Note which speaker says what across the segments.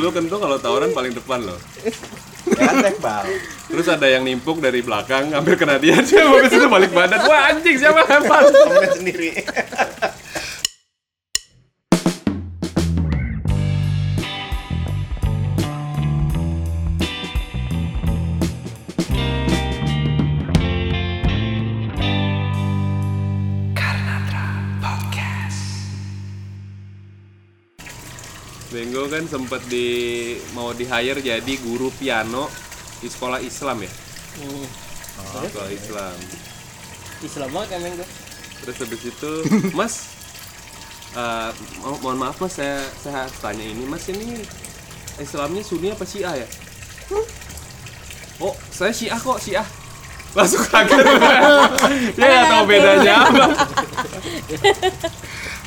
Speaker 1: Lu kentut kan kalau tawuran paling depan loh.
Speaker 2: Gantek bang.
Speaker 1: Terus ada yang nimpuk dari belakang, hampir kena dia, dia habis itu balik badan. Wah anjing siapa lempar?
Speaker 2: Temennya sendiri.
Speaker 1: Benggo kan sempat di mau di hire jadi guru piano di sekolah Islam ya. Oh,
Speaker 3: Hmm.
Speaker 1: Sekolah Islam.
Speaker 3: Islam banget kan yang gue.
Speaker 1: Terus habis itu, Mas, eh, mo- mohon maaf Mas, saya saya harus tanya ini, Mas ini Islamnya Sunni apa Syiah ya? "Hmm? Oh, saya Syiah kok Syiah. Langsung kaget. Dia nggak tahu bedanya apa.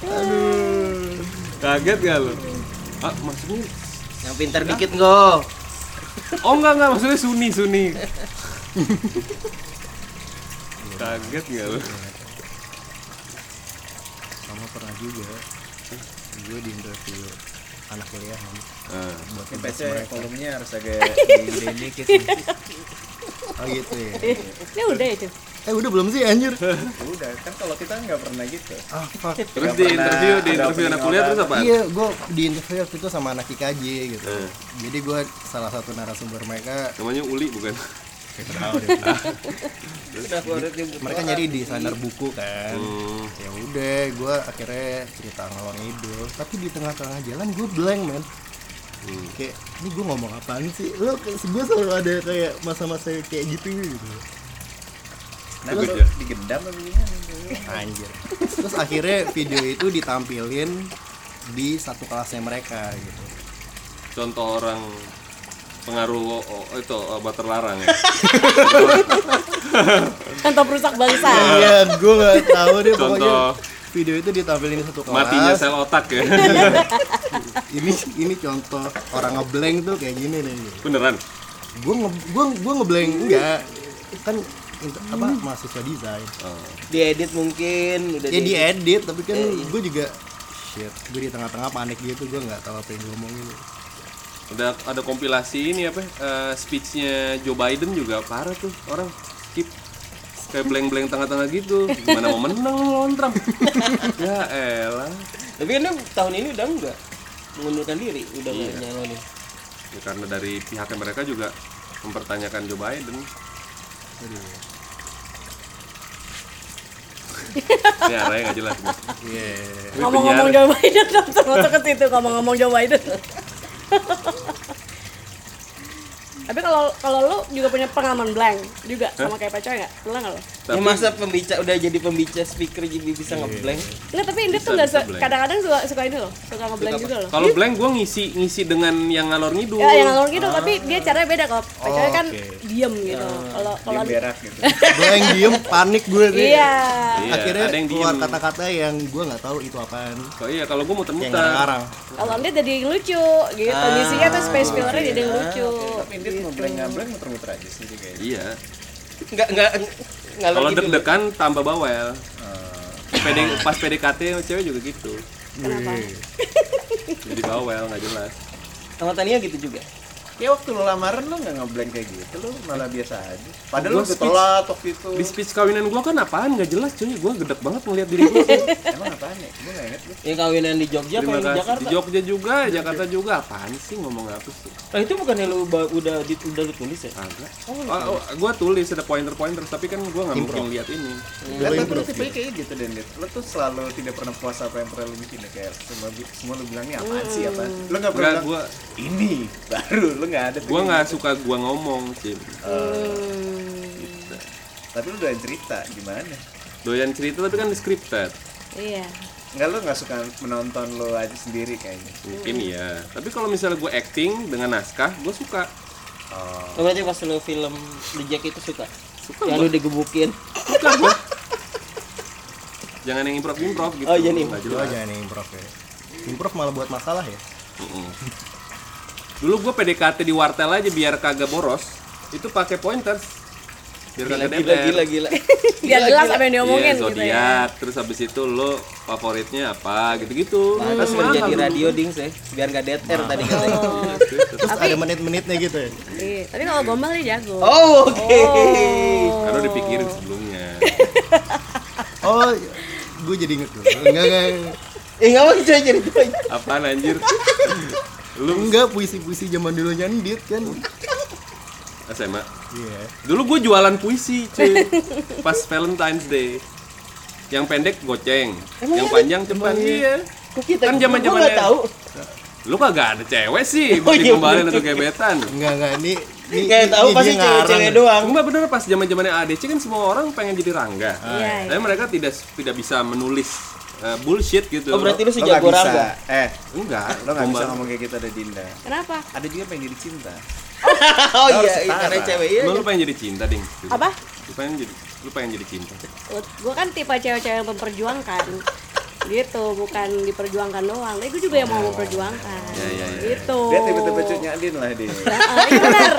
Speaker 1: Aduh, kaget gak lu? Ah, maksudnya
Speaker 4: Yang pintar dikit go.
Speaker 1: Oh enggak enggak maksudnya Suni Suni. Kaget nggak lu?
Speaker 5: sama pernah juga gue di interview anak kuliah kan
Speaker 1: Ah,
Speaker 5: buat
Speaker 2: Ini
Speaker 5: ngebahas
Speaker 2: PC
Speaker 5: mereka.
Speaker 2: volumenya harus agak
Speaker 5: Gede dikit nih. oh gitu ya
Speaker 3: Ya udah itu.
Speaker 5: eh udah belum sih anjir
Speaker 2: udah kan kalau kita nggak pernah gitu.
Speaker 5: ah fuck
Speaker 1: Terus
Speaker 2: Nggak
Speaker 1: di
Speaker 2: pernah
Speaker 1: interview di
Speaker 2: ada
Speaker 1: interview anak kuliah terus apa?
Speaker 5: iya gue di interview waktu itu sama anak IKJ gitu
Speaker 1: Eh.
Speaker 5: jadi gue salah satu narasumber mereka
Speaker 1: Namanya Uli bukan?
Speaker 5: kayak kenal deh.
Speaker 2: Udah keluar dari
Speaker 5: mereka nyari desainer buku kan
Speaker 1: Hmm,
Speaker 5: ya udah gue akhirnya cerita ngalor ngidul tapi di tengah-tengah jalan gue blank men
Speaker 1: Hmm.
Speaker 5: kayak ini gue ngomong apaan sih lo gue selalu ada kayak masa-masa kayak gitu gitu
Speaker 2: Nah,
Speaker 1: Bagus
Speaker 2: lu
Speaker 1: ya.
Speaker 2: digedam apa gimana?
Speaker 5: anjir terus akhirnya video itu ditampilin di satu kelasnya mereka gitu
Speaker 1: contoh orang pengaruh o- o- itu obat terlarang ya.
Speaker 3: Contoh perusak Kan bangsa.
Speaker 5: iya gue gak tahu deh pokoknya
Speaker 1: Contoh.
Speaker 5: video itu ditampilin di satu kelas
Speaker 1: Matinya sel otak ya.
Speaker 5: ini ini contoh orang ngeblank tuh kayak gini nih gitu.
Speaker 1: Beneran?
Speaker 5: gue nge gue gue ngeblank enggak kan inter- apa
Speaker 3: Hmm.
Speaker 5: mahasiswa desain
Speaker 1: Oh.
Speaker 4: Diedit mungkin udah
Speaker 5: ya
Speaker 4: di-
Speaker 5: diedit tapi kan
Speaker 3: Iya.
Speaker 5: gue juga shit gue di tengah-tengah panik gitu gue nggak tahu apa yang diomongin
Speaker 1: Ada ada kompilasi ini apa? eh, speech-nya Joe Biden juga parah tuh orang skip kayak blank-blank tengah-tengah gitu. Gimana mau menang lawan Trump? ya elah.
Speaker 4: Tapi kan dia tahun ini udah enggak mengundurkan diri, udah enggak
Speaker 1: Iya.
Speaker 4: nyalonin.
Speaker 1: Ya, karena dari pihaknya mereka juga mempertanyakan Joe Biden. ya arahnya nggak jelas. Mas.
Speaker 5: iya
Speaker 1: Ini
Speaker 3: Ngomong-ngomong
Speaker 1: penyiar.
Speaker 3: Joe Biden dong, termasuk ke situ ngomong-ngomong Joe Biden. Tapi kalau kalau lu juga punya pengalaman blank juga sama kayak pacar nggak? Pernah nggak lo?
Speaker 4: Ya
Speaker 1: Tapi- Iya.
Speaker 4: masa pembicara udah jadi pembicara speaker jadi bisa ngeblank.
Speaker 3: Nggak, tapi Indra tuh nggak
Speaker 1: bisa
Speaker 3: se-
Speaker 1: blank. Oh.
Speaker 3: kadang-kadang suka suka ini loh, suka ngeblank juga loh.
Speaker 1: Kalau blank gue ngisi ngisi dengan yang ngalor ngidul.
Speaker 3: Ya, yang ngalor gitu, tapi dia caranya beda kalau pacarnya kan
Speaker 5: oke.
Speaker 3: diem gitu. Kalau kalau
Speaker 2: Dia berak gitu.
Speaker 5: gue yang diem panik gue tuh
Speaker 3: iya,
Speaker 1: Iya,
Speaker 5: akhirnya
Speaker 1: ada yang
Speaker 5: keluar
Speaker 1: diem.
Speaker 5: kata-kata yang gue nggak tahu itu apaan
Speaker 1: Kalau iya kalau gue
Speaker 5: yang
Speaker 1: muter-muter.
Speaker 5: ngarang
Speaker 3: kalau dia jadi yang lucu gitu. Kondisinya tuh space fillernya jadi yang lucu.
Speaker 2: Tapi dia ngeblank-ngeblank muter-muter aja sih gitu. dia kayaknya.
Speaker 1: Iya.
Speaker 4: Enggak enggak ngalor
Speaker 1: Kalau
Speaker 4: gitu.
Speaker 1: deg-degan tambah bawel. PD, pas PDKT sama cewek juga gitu. Jadi bawel nggak jelas.
Speaker 4: Sama Tania gitu juga.
Speaker 2: Ya waktu lu lamaran lu nggak ngeblank kayak gitu, lu malah biasa aja.
Speaker 1: Gua
Speaker 2: Padahal lu udah
Speaker 1: speech-
Speaker 2: telat waktu itu.
Speaker 1: Di speech kawinan gue kan apaan nggak jelas cuy. Gue gedek banget ngeliat diri gue.
Speaker 2: Emang apaan ya? Gue nggak inget deh.
Speaker 4: Ya kawinan di Jogja
Speaker 1: Terima
Speaker 4: kayak di
Speaker 1: kasih.
Speaker 4: Jakarta.
Speaker 1: Di Jogja juga, Jakarta juga. Apaan sih ngomong apa sih?
Speaker 4: Lah Oh, itu bukannya lu ba- udah di, udah lu tulis ya?
Speaker 1: Agak. Oh, oh, gua tulis ada pointer-pointer tapi kan gua nggak mungkin lihat ini.
Speaker 2: Lah, tapi lu tipe kayak gitu dan Lu tuh selalu tidak pernah puas apa yang pernah lu bikin ya. kayak semua bi- semua lu bilang ini apaan sih apaan? Lu nggak pernah
Speaker 1: Enggak
Speaker 2: bilang,
Speaker 1: gua
Speaker 2: ini baru lu nggak ada. tuh
Speaker 1: gua
Speaker 2: kayak
Speaker 1: nggak
Speaker 2: gitu.
Speaker 1: suka gua ngomong sih.
Speaker 2: Tapi lu doain cerita gimana?
Speaker 1: Doyan cerita tapi kan scripted.
Speaker 3: Iya.
Speaker 2: Enggak lu nggak suka menonton lu aja sendiri kayaknya.
Speaker 1: Mungkin ya. Tapi kalau misalnya gua acting dengan naskah, gua suka.
Speaker 2: Oh.
Speaker 4: Lo berarti pas lu film The Jack itu suka? Suka Yang lu digebukin
Speaker 1: Suka gua. Jangan yang improv-improv gitu.
Speaker 4: Oh, iya nih.
Speaker 1: Nggak
Speaker 5: gue
Speaker 1: jelas.
Speaker 5: aja nih improv ya improv malah buat masalah ya
Speaker 1: Mm-mm. Dulu gua PDKT di wartel aja biar kagak boros. Itu pakai pointers. biar
Speaker 4: Gila,
Speaker 1: kagak
Speaker 4: gila,
Speaker 1: DPR.
Speaker 4: gila, gila.
Speaker 3: Biar
Speaker 4: Gila,
Speaker 3: jelas
Speaker 4: gila.
Speaker 3: apa yang diomongin
Speaker 1: Iya,
Speaker 3: gitu ya.
Speaker 1: zodiak. terus habis itu lo favoritnya apa gitu-gitu
Speaker 4: Pantas
Speaker 1: mahal
Speaker 4: menjadi
Speaker 1: dulu.
Speaker 4: radio ding saya, biar nggak dead air
Speaker 1: Oh.
Speaker 4: tadi katanya.
Speaker 3: Oh.
Speaker 5: Terus
Speaker 3: Tapi-
Speaker 5: ada menit-menitnya gitu ya.
Speaker 3: Iya, tapi kalau gombal dia jago. Oh.
Speaker 4: Oh, oke.
Speaker 1: Karena udah dipikirin sebelumnya
Speaker 5: Oh, gue jadi inget dulu. Enggak, enggak, enggak.
Speaker 4: Eh, nggak mau saya jadi
Speaker 1: Kan
Speaker 4: tua.
Speaker 1: apaan anjir
Speaker 5: Lu enggak puisi-puisi zaman dulu nyandit kan?
Speaker 1: SMA
Speaker 5: Iya.
Speaker 1: dulu gue jualan puisi cuy pas Valentine's Day yang pendek goceng yang panjang cepat iya
Speaker 4: Kok kita
Speaker 1: Kan zaman-zamannya-
Speaker 4: gua nggak tahu.
Speaker 1: lu kagak ada cewek sih
Speaker 4: Oh,
Speaker 1: buat
Speaker 4: iya,
Speaker 1: dikembalin
Speaker 4: bener.
Speaker 1: atau gebetan
Speaker 5: Enggak, enggak. Ini ini
Speaker 4: Kayak
Speaker 5: ini-
Speaker 4: tahu
Speaker 5: ini
Speaker 4: pasti
Speaker 5: dia
Speaker 4: cewek-cewek
Speaker 5: ngarang.
Speaker 4: doang.
Speaker 1: Enggak bener pas zaman zamannya ADC kan semua orang pengen jadi Rangga.
Speaker 3: Iya, iya.
Speaker 1: Tapi mereka tidak tidak bisa menulis eh, bullshit gitu.
Speaker 4: Oh, berarti lu
Speaker 2: Lo gak
Speaker 4: sejago
Speaker 2: bisa.
Speaker 4: Rangga.
Speaker 2: Eh,
Speaker 1: enggak,
Speaker 2: lo gak bisa
Speaker 1: gombal.
Speaker 2: ngomong kayak gitu ada Dinda.
Speaker 3: Kenapa?
Speaker 2: Ada juga pengen jadi cinta.
Speaker 4: Oh
Speaker 2: Harus
Speaker 4: iya, iya,
Speaker 2: setara.
Speaker 4: karena cewek iya.
Speaker 1: Lu, lu pengen jadi cinta, Ding.
Speaker 3: Apa?
Speaker 1: Lu pengen jadi lu pengen jadi cinta.
Speaker 4: Iya.
Speaker 3: Gue kan tipe cewek-cewek yang memperjuangkan gitu bukan diperjuangkan doang tapi gue juga yang mau memperjuangkan
Speaker 1: Oh. Iya, iya, iya.
Speaker 3: gitu
Speaker 4: Oh.
Speaker 2: Dia tiba-tiba cutnya Din lah dia.
Speaker 3: Nah, iya bener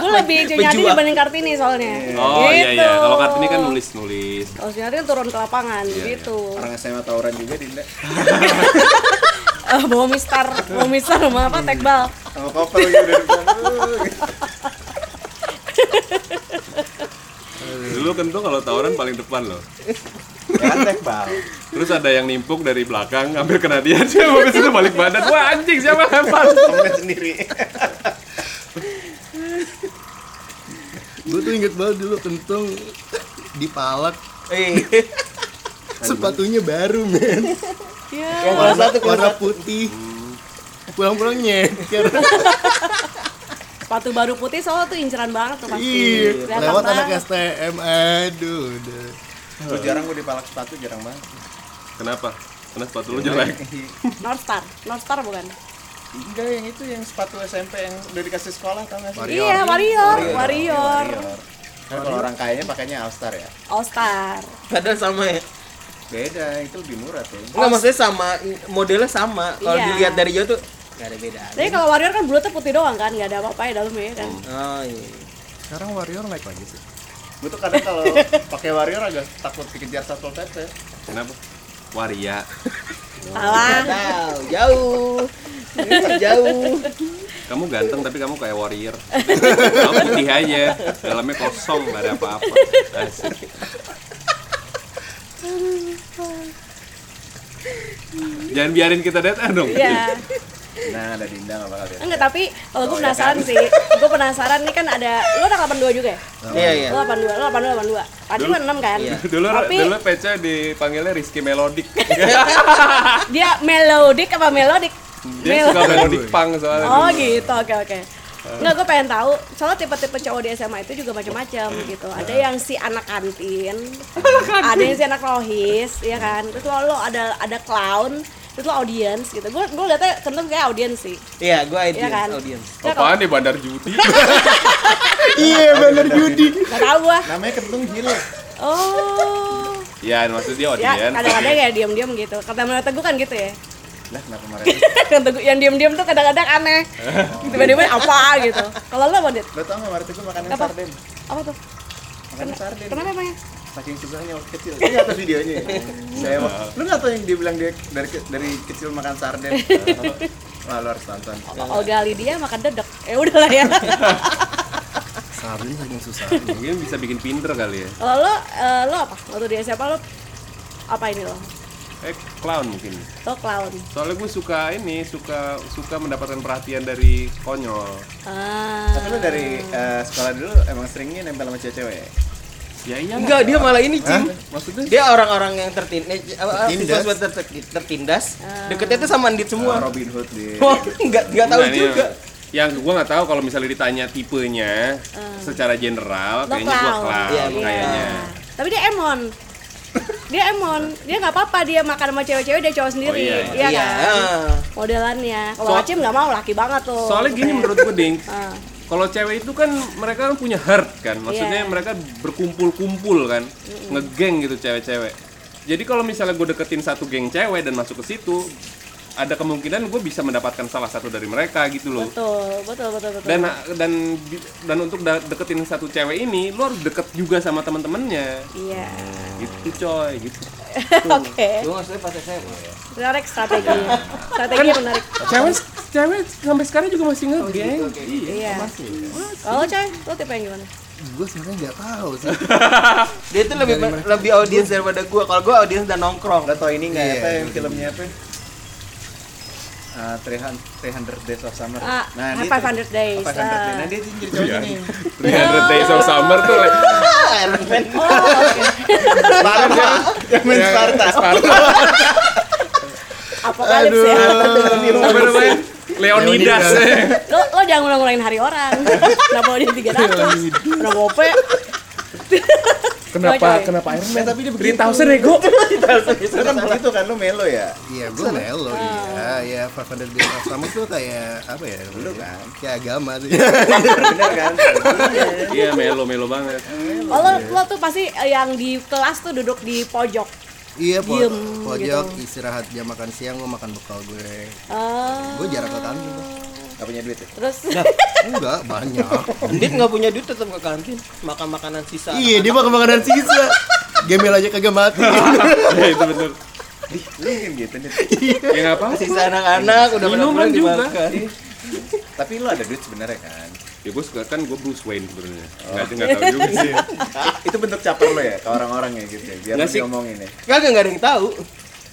Speaker 3: gue lebih cunya hati
Speaker 4: Pejuang.
Speaker 3: dibanding kartini soalnya
Speaker 1: Oh iya
Speaker 3: Gitu.
Speaker 1: iya, kalau Kartini kan Iya,
Speaker 3: nulis
Speaker 1: nulis-nulis.
Speaker 3: kalau Sinarti kan turun ke lapangan gitu
Speaker 2: Orang SMA tawuran juga Dinda.
Speaker 3: Eh, bawa mistar bawa mistar sama
Speaker 1: Hmm.
Speaker 3: apa tekbal
Speaker 2: Sama kopel gitu dari depan.
Speaker 1: Dulu kentung kalau tawuran paling depan loh.
Speaker 2: Jangan tekbal.
Speaker 1: Terus ada yang nimpuk dari belakang, hampir kena dia, dia habis itu balik badan. Wah, anjing siapa lempar?
Speaker 2: Temennya sendiri.
Speaker 5: Gue tuh inget banget dulu kentung dipalak
Speaker 4: Eh,
Speaker 5: sepatunya baru men
Speaker 3: ya
Speaker 4: kelas
Speaker 5: warna,
Speaker 4: satu, kelas
Speaker 5: warna putih pulang-pulang nyeker
Speaker 3: sepatu baru putih soalnya tuh inceran banget tuh pasti
Speaker 5: Ih,
Speaker 3: Kelihatan
Speaker 5: Iya. lewat anak
Speaker 3: banget.
Speaker 5: STM aduh udah
Speaker 2: Gue jarang gue dipalak sepatu, jarang banget.
Speaker 1: Kenapa? Karena sepatu lu jelek.
Speaker 3: North Star North Star bukan
Speaker 2: Enggak yang itu yang sepatu SMP yang udah dikasih sekolah tau gak sih?
Speaker 3: iya warrior warrior
Speaker 2: Kan kalau orang kayanya pakainya Alstar ya.
Speaker 3: All Star
Speaker 4: padahal sama ya.
Speaker 2: Beda, yang itu lebih murah tuh.
Speaker 4: Enggak maksudnya sama, modelnya sama. Kalau
Speaker 3: Iya.
Speaker 4: dilihat dari jauh tuh nggak ada beda.
Speaker 3: Tapi kalau warrior kan bulutnya putih doang kan, nggak ada apa-apa ya dalamnya kan.
Speaker 4: Oh iya.
Speaker 5: sekarang warrior naik lagi sih
Speaker 2: Gue tuh kadang kalau pakai warrior agak takut dikejar satpol pp.
Speaker 1: Kenapa? Waria.
Speaker 3: Salah.
Speaker 4: Tahu, jauh. jauh.
Speaker 1: Kamu ganteng tapi kamu kayak warrior. Kamu putih aja, dalamnya kosong nggak ada apa-apa. Asik. Jangan biarin kita dead air dong.
Speaker 3: Iya.
Speaker 2: Nah, ada Dinda gak bakal lihat.
Speaker 3: Enggak, tapi kalau gue penasaran sih. Gue penasaran nih kan ada lu anak 82 juga ya?
Speaker 5: Oh.
Speaker 4: Iya iya.
Speaker 3: Lu 82, lu 82, 82. Tadi lu 6 kan?
Speaker 4: Iya.
Speaker 1: Dulu
Speaker 3: Tapi
Speaker 1: dulu Peca dipanggilnya Rizky Melodic.
Speaker 3: dia melodic apa melodic?
Speaker 1: Dia suka melodic punk soalnya.
Speaker 3: Oh
Speaker 1: dulu.
Speaker 3: gitu, oke oke. Enggak, gue pengen tahu. Soalnya tipe-tipe cowok di SMA itu juga macam-macam gitu. Ada yang si anak kantin, ada yang si anak rohis, ya kan. Terus lo ada ada clown, terus lo audience gitu. Gue gue liatnya kentung kayak audience sih.
Speaker 4: Iya, gua
Speaker 3: Iya
Speaker 4: audience,
Speaker 3: kan?
Speaker 4: audience.
Speaker 3: Nggak,
Speaker 1: Apaan nih bandar judi?
Speaker 3: Eh,
Speaker 5: iya bener judi
Speaker 3: Gak tau gua.
Speaker 2: Namanya kentung gila.
Speaker 3: Oh.
Speaker 1: ya maksud dia
Speaker 3: Ya,
Speaker 1: audience.
Speaker 3: kadang-kadang ya diam-diam gitu. Kata menurut teguh kan gitu ya.
Speaker 2: Lah, kenapa marah?
Speaker 3: Yang Teguh- yang diam-diam tuh kadang-kadang aneh. Tiba-tiba apa gitu. Kalau lo mau
Speaker 2: Lo tau gak marah itu makanan
Speaker 3: Apa?
Speaker 2: sarden?
Speaker 3: apa tuh?
Speaker 2: Makanan sarden.
Speaker 3: Kenapa emangnya?
Speaker 2: Saking susahnya waktu kecil. Ini atas videonya. ya? Saya mau. Lu nggak tahu yang dia bilang dia dari ke- dari kecil makan sarden. Wah, lu harus tonton.
Speaker 3: Olga Lydia "Oh, makan dedek. Eh udahlah ya.
Speaker 5: sablin saking susah
Speaker 1: Mungkin bisa bikin pinter kali ya.
Speaker 3: Kalau lo, eh, lo apa? Waktu di SMA lo apa ini lo?
Speaker 1: Eh, clown mungkin.
Speaker 3: Lo clown.
Speaker 1: Soalnya gue suka ini, suka suka mendapatkan perhatian dari konyol.
Speaker 3: Ah.
Speaker 2: Tapi lu dari eh, sekolah dulu emang seringnya nempel sama cewek-cewek. ya?
Speaker 1: Ya iya. lah.
Speaker 4: Enggak, dia malah ini, Cing.
Speaker 2: Maksudnya
Speaker 4: Dia orang-orang yang eh, tertindas,
Speaker 5: Tertindas. Oh.
Speaker 4: tertindas, tertindas.
Speaker 3: Oh.
Speaker 4: Deketnya tuh sama Andit
Speaker 2: eh,
Speaker 4: semua.
Speaker 2: Robin Hood dia.
Speaker 4: Wah, enggak enggak tahu
Speaker 1: Nah, ini
Speaker 4: juga.
Speaker 1: yang gue nggak tahu kalau misalnya ditanya tipenya secara general
Speaker 3: Lo
Speaker 1: kayaknya gue
Speaker 3: Hmm. clown.
Speaker 1: clown
Speaker 4: Iya,
Speaker 3: Iya.
Speaker 1: kayaknya
Speaker 3: Tapi dia emon. Dia emon. Dia nggak apa-apa dia makan sama cewek-cewek dia cowok sendiri.
Speaker 1: iya,
Speaker 3: iya,
Speaker 4: Iya.
Speaker 3: kan? Modelannya. Kalau
Speaker 1: So-
Speaker 3: Acim nggak mau laki banget tuh.
Speaker 1: soalnya gini menurut gue ding
Speaker 3: Ah.
Speaker 1: kalau cewek itu kan mereka kan punya heart kan maksudnya
Speaker 3: Iya.
Speaker 1: mereka berkumpul-kumpul kan ngegeng gitu cewek-cewek jadi kalau misalnya gue deketin satu geng cewek dan masuk ke situ ada kemungkinan gue bisa mendapatkan salah satu dari mereka gitu loh
Speaker 3: betul betul betul betul
Speaker 1: dan dan dan untuk da- deketin satu cewek ini lo harus deket juga sama temen-temennya
Speaker 3: iya
Speaker 1: gitu coy gitu
Speaker 3: oke
Speaker 4: Lu maksudnya pas SMA ya? Iya.
Speaker 3: menarik strateginya
Speaker 1: Kan-
Speaker 3: strategi menarik
Speaker 1: cewek cewek sampai sekarang juga masih ngegeng
Speaker 4: Oh, gitu.
Speaker 3: iya
Speaker 5: masih
Speaker 3: kalau coy lo tipe yang gimana
Speaker 5: gue sebenarnya nggak tahu sih
Speaker 4: Dia tuh lebih lebih audiens daripada gua. Kalau gua audiens dan nongkrong.
Speaker 2: Gak tau ini nggak
Speaker 5: Iya,
Speaker 2: apa yang filmnya apa? Ah, 300 300 Days of
Speaker 1: Nah,
Speaker 2: Summer.
Speaker 3: Ah,
Speaker 2: ini
Speaker 3: 500
Speaker 2: tuh-
Speaker 3: days.
Speaker 2: 500 Days.
Speaker 3: Ah.
Speaker 2: Nah, dia tuh jadi cowoknya nih.
Speaker 1: 300 Days of Summer tuh like,
Speaker 2: Iron Man.
Speaker 3: oh oke
Speaker 2: Sparta. Yang main Sparta.
Speaker 3: apokalips ya
Speaker 1: apa namanya Leonidas
Speaker 3: lo lo jangan ngulang-ngulangin hari orang kenapa lo jadi tiga ratus udah gope Coy,
Speaker 1: kenapa
Speaker 3: coy.
Speaker 1: kenapa Iron Man
Speaker 2: Eh, tapi dia begitu.
Speaker 1: 3000 ego
Speaker 2: Lu kan begitu kan lu melo ya?
Speaker 5: Iya, gue melo iya.
Speaker 4: Ah.
Speaker 5: Ya, Five Hundred Days of Summer tuh kayak apa ya? Dulu
Speaker 2: kan?
Speaker 5: Kayak agama sih.
Speaker 2: Bener kan?
Speaker 1: iya melo melo banget
Speaker 3: oh lo, lo tuh pasti eh, yang di kelas tuh duduk di pojok
Speaker 5: Iya, po-
Speaker 3: Diem,
Speaker 5: pojok
Speaker 3: gitu.
Speaker 5: istirahat jam makan siang gue makan bekal gue.
Speaker 3: Ah.
Speaker 5: Gue jarang ke kantin. Bang.
Speaker 2: Gak punya duit ya?
Speaker 3: terus
Speaker 1: Nah.
Speaker 5: Enggak banyak.
Speaker 4: Dit nggak punya duit tetap ke kantin makan makanan sisa.
Speaker 5: iya, dia makan makanan sisa. Gemel aja kagak mati.
Speaker 1: ya itu betul
Speaker 2: Dih, lu mungkin gitu nih.
Speaker 1: ya nggak apa
Speaker 4: Sisa anak-anak udah
Speaker 1: Minuman
Speaker 4: bener-bener
Speaker 1: juga.
Speaker 4: dimakan.
Speaker 2: Tapi lu ada duit sebenarnya kan?
Speaker 1: ya gue suka kan gue Bruce Wayne sebenarnya nggak nggak tahu juga sih
Speaker 2: Itu bentuk caper lo ya ke orang-orang ya gitu ya. Biar
Speaker 1: Nggak
Speaker 2: lu
Speaker 1: sih.
Speaker 2: diomongin ya.
Speaker 4: Kagak nggak ada yang tahu.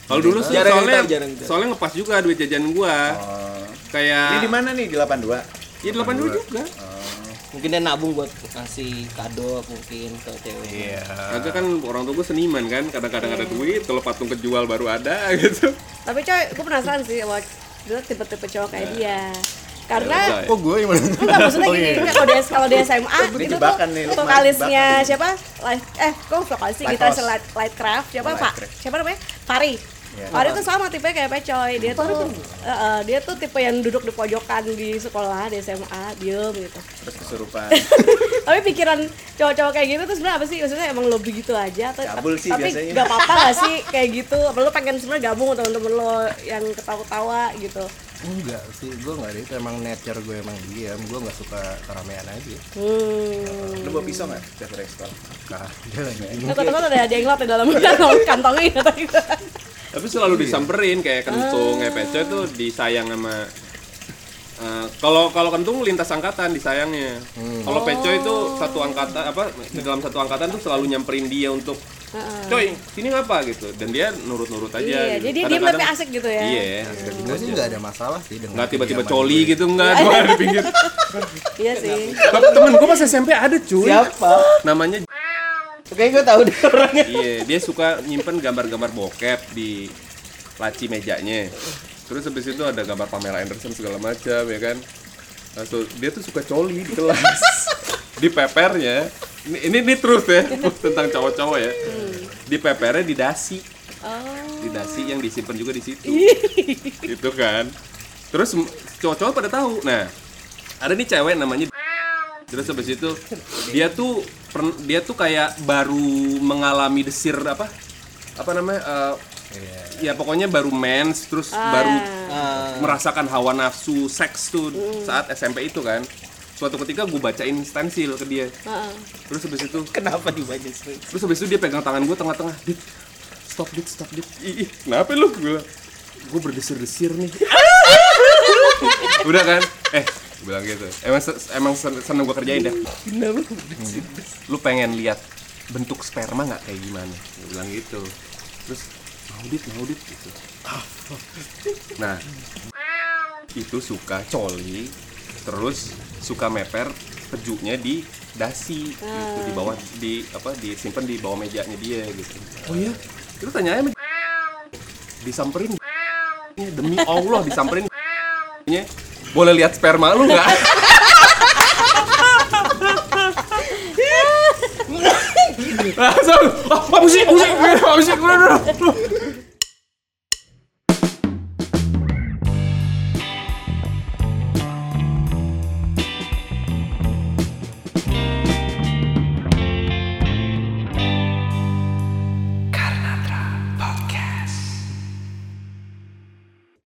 Speaker 1: kalau dulu sih
Speaker 4: Jarang
Speaker 1: soalnya
Speaker 4: tahu, jarang tahu.
Speaker 1: soalnya ngepas juga duit jajan gue
Speaker 2: Oh. Ini di
Speaker 1: kayak
Speaker 2: mana nih? Di 82.
Speaker 1: ya delapan dulu juga
Speaker 4: Mungkin dia nabung buat ngasih kado mungkin ke cewek.
Speaker 1: Agak kan orang tua gue seniman kan, kadang-kadang ada duit, kalau patung kejual baru ada gitu.
Speaker 3: tapi coy gue penasaran sih sama lo tipe-tipe
Speaker 1: Nah.
Speaker 3: cowok kayak dia karena
Speaker 1: Ya, udah ya.
Speaker 5: Kok gue yang mana?
Speaker 3: Enggak
Speaker 2: Oh,
Speaker 3: maksudnya gini, enggak, kalau di kalau di SMA
Speaker 2: Ini
Speaker 3: itu gitu, tuh
Speaker 2: iya, jebakan nih, lu main
Speaker 3: vokalisnya
Speaker 2: jebakan.
Speaker 3: siapa? Light, eh kok vokalis sih kita
Speaker 2: Lighthouse.
Speaker 3: light, Lightcraft siapa Pak?
Speaker 2: Lightcraft.
Speaker 3: Siapa namanya? Fari.
Speaker 2: Iya. Oh.
Speaker 3: Fari tuh sama tipe kayak Pecoy. Dia tuh eh, eh, dia tuh tipe yang duduk di pojokan di sekolah, di SMA, diem gitu.
Speaker 2: Terus kesurupan.
Speaker 3: Tapi pikiran cowok-cowok kayak gitu tuh sebenarnya apa sih? Maksudnya emang lo begitu aja atau
Speaker 2: Cabul sih
Speaker 3: tapi
Speaker 2: biasanya.
Speaker 3: nggak apa-apa gak sih kayak gitu? Apa lo pengen sebenarnya gabung sama temen-temen lo yang ketawa-ketawa gitu?
Speaker 5: Enggak sih, gue enggak ada itu emang nature gue emang diam. Gue enggak suka keramaian aja.
Speaker 3: Hmm.
Speaker 2: Lu bawa pisau nggak? Tiap hari sekolah.
Speaker 5: Nah, dia lagi.
Speaker 3: Nah, teman ada ada yang lot di dalam kantong kantongnya kata kita.
Speaker 1: Tapi selalu disamperin kayak kentung,
Speaker 3: Ah.
Speaker 1: kayak pecah tuh disayang sama eh, kalau kalau kentung lintas angkatan disayangnya. Kalau Pecoy itu
Speaker 3: Oh.
Speaker 1: satu angkatan apa di dalam satu angkatan tuh selalu nyamperin dia untuk coy sini ngapa gitu dan dia nurut-nurut aja.
Speaker 3: Ah. Iya,
Speaker 1: gitu.
Speaker 3: jadi dia diem
Speaker 1: Kadang-kadang-
Speaker 3: tapi asik gitu ya.
Speaker 1: Iya, asik aja.
Speaker 5: Gue sih enggak ada masalah sih dengan
Speaker 1: nggak tiba-tiba
Speaker 5: kediaman
Speaker 1: coli
Speaker 5: gue.
Speaker 1: gitu nggak cuma di pinggir.
Speaker 3: Iya sih.
Speaker 1: Temen gue pas SMP ada cuy.
Speaker 4: Siapa?
Speaker 1: Namanya
Speaker 4: Kayaknya gue tahu deh orangnya.
Speaker 1: Iya, dia suka nyimpen gambar-gambar bokep di laci mejanya. Terus habis itu ada gambar Pamela Anderson segala macam ya kan. Langsung dia tuh suka coli di kelas. di pepernya. Ini ini, ini truth ya tentang cowok-cowok ya. Di pepernya di dasi,
Speaker 3: Oh.
Speaker 1: di dasi yang disimpan juga di situ. gitu kan. Terus m- cowok-cowok pada tahu. Nah, ada nih cewek namanya Terus habis itu dia tuh pern- dia tuh kayak baru mengalami desir apa? Apa namanya? eh, Ya pokoknya baru mens terus
Speaker 3: Ah.
Speaker 1: baru
Speaker 4: Ah.
Speaker 1: merasakan hawa nafsu seks tuh saat SMP itu kan. Suatu ketika gue bacain stensil ke dia.
Speaker 3: Heeh.
Speaker 1: Terus habis itu
Speaker 4: Kenapa dibaca sih?
Speaker 1: terus habis itu dia pegang tangan gue tengah-tengah. Dit, stop dit, stop dit. Ih, ih, kenapa lu? Gue gue berdesir-desir nih. Udah kan? Eh, gue bilang gitu. Emang se- emang sen- seneng gue kerjain dah.
Speaker 4: Kenapa?
Speaker 1: lu pengen lihat bentuk sperma nggak kayak gimana Dia bilang gitu terus mau dit mau dit gitu Ah, fuck. nah itu suka coli terus suka meper pejunya di dasi gitu di bawah di apa disimpan di bawah mejanya dia gitu oh ya itu tanya aja sama- disamperin Iya, demi Allah disamperin Iya, boleh lihat sperma lu nggak langsung oh, apa musik musik apa musik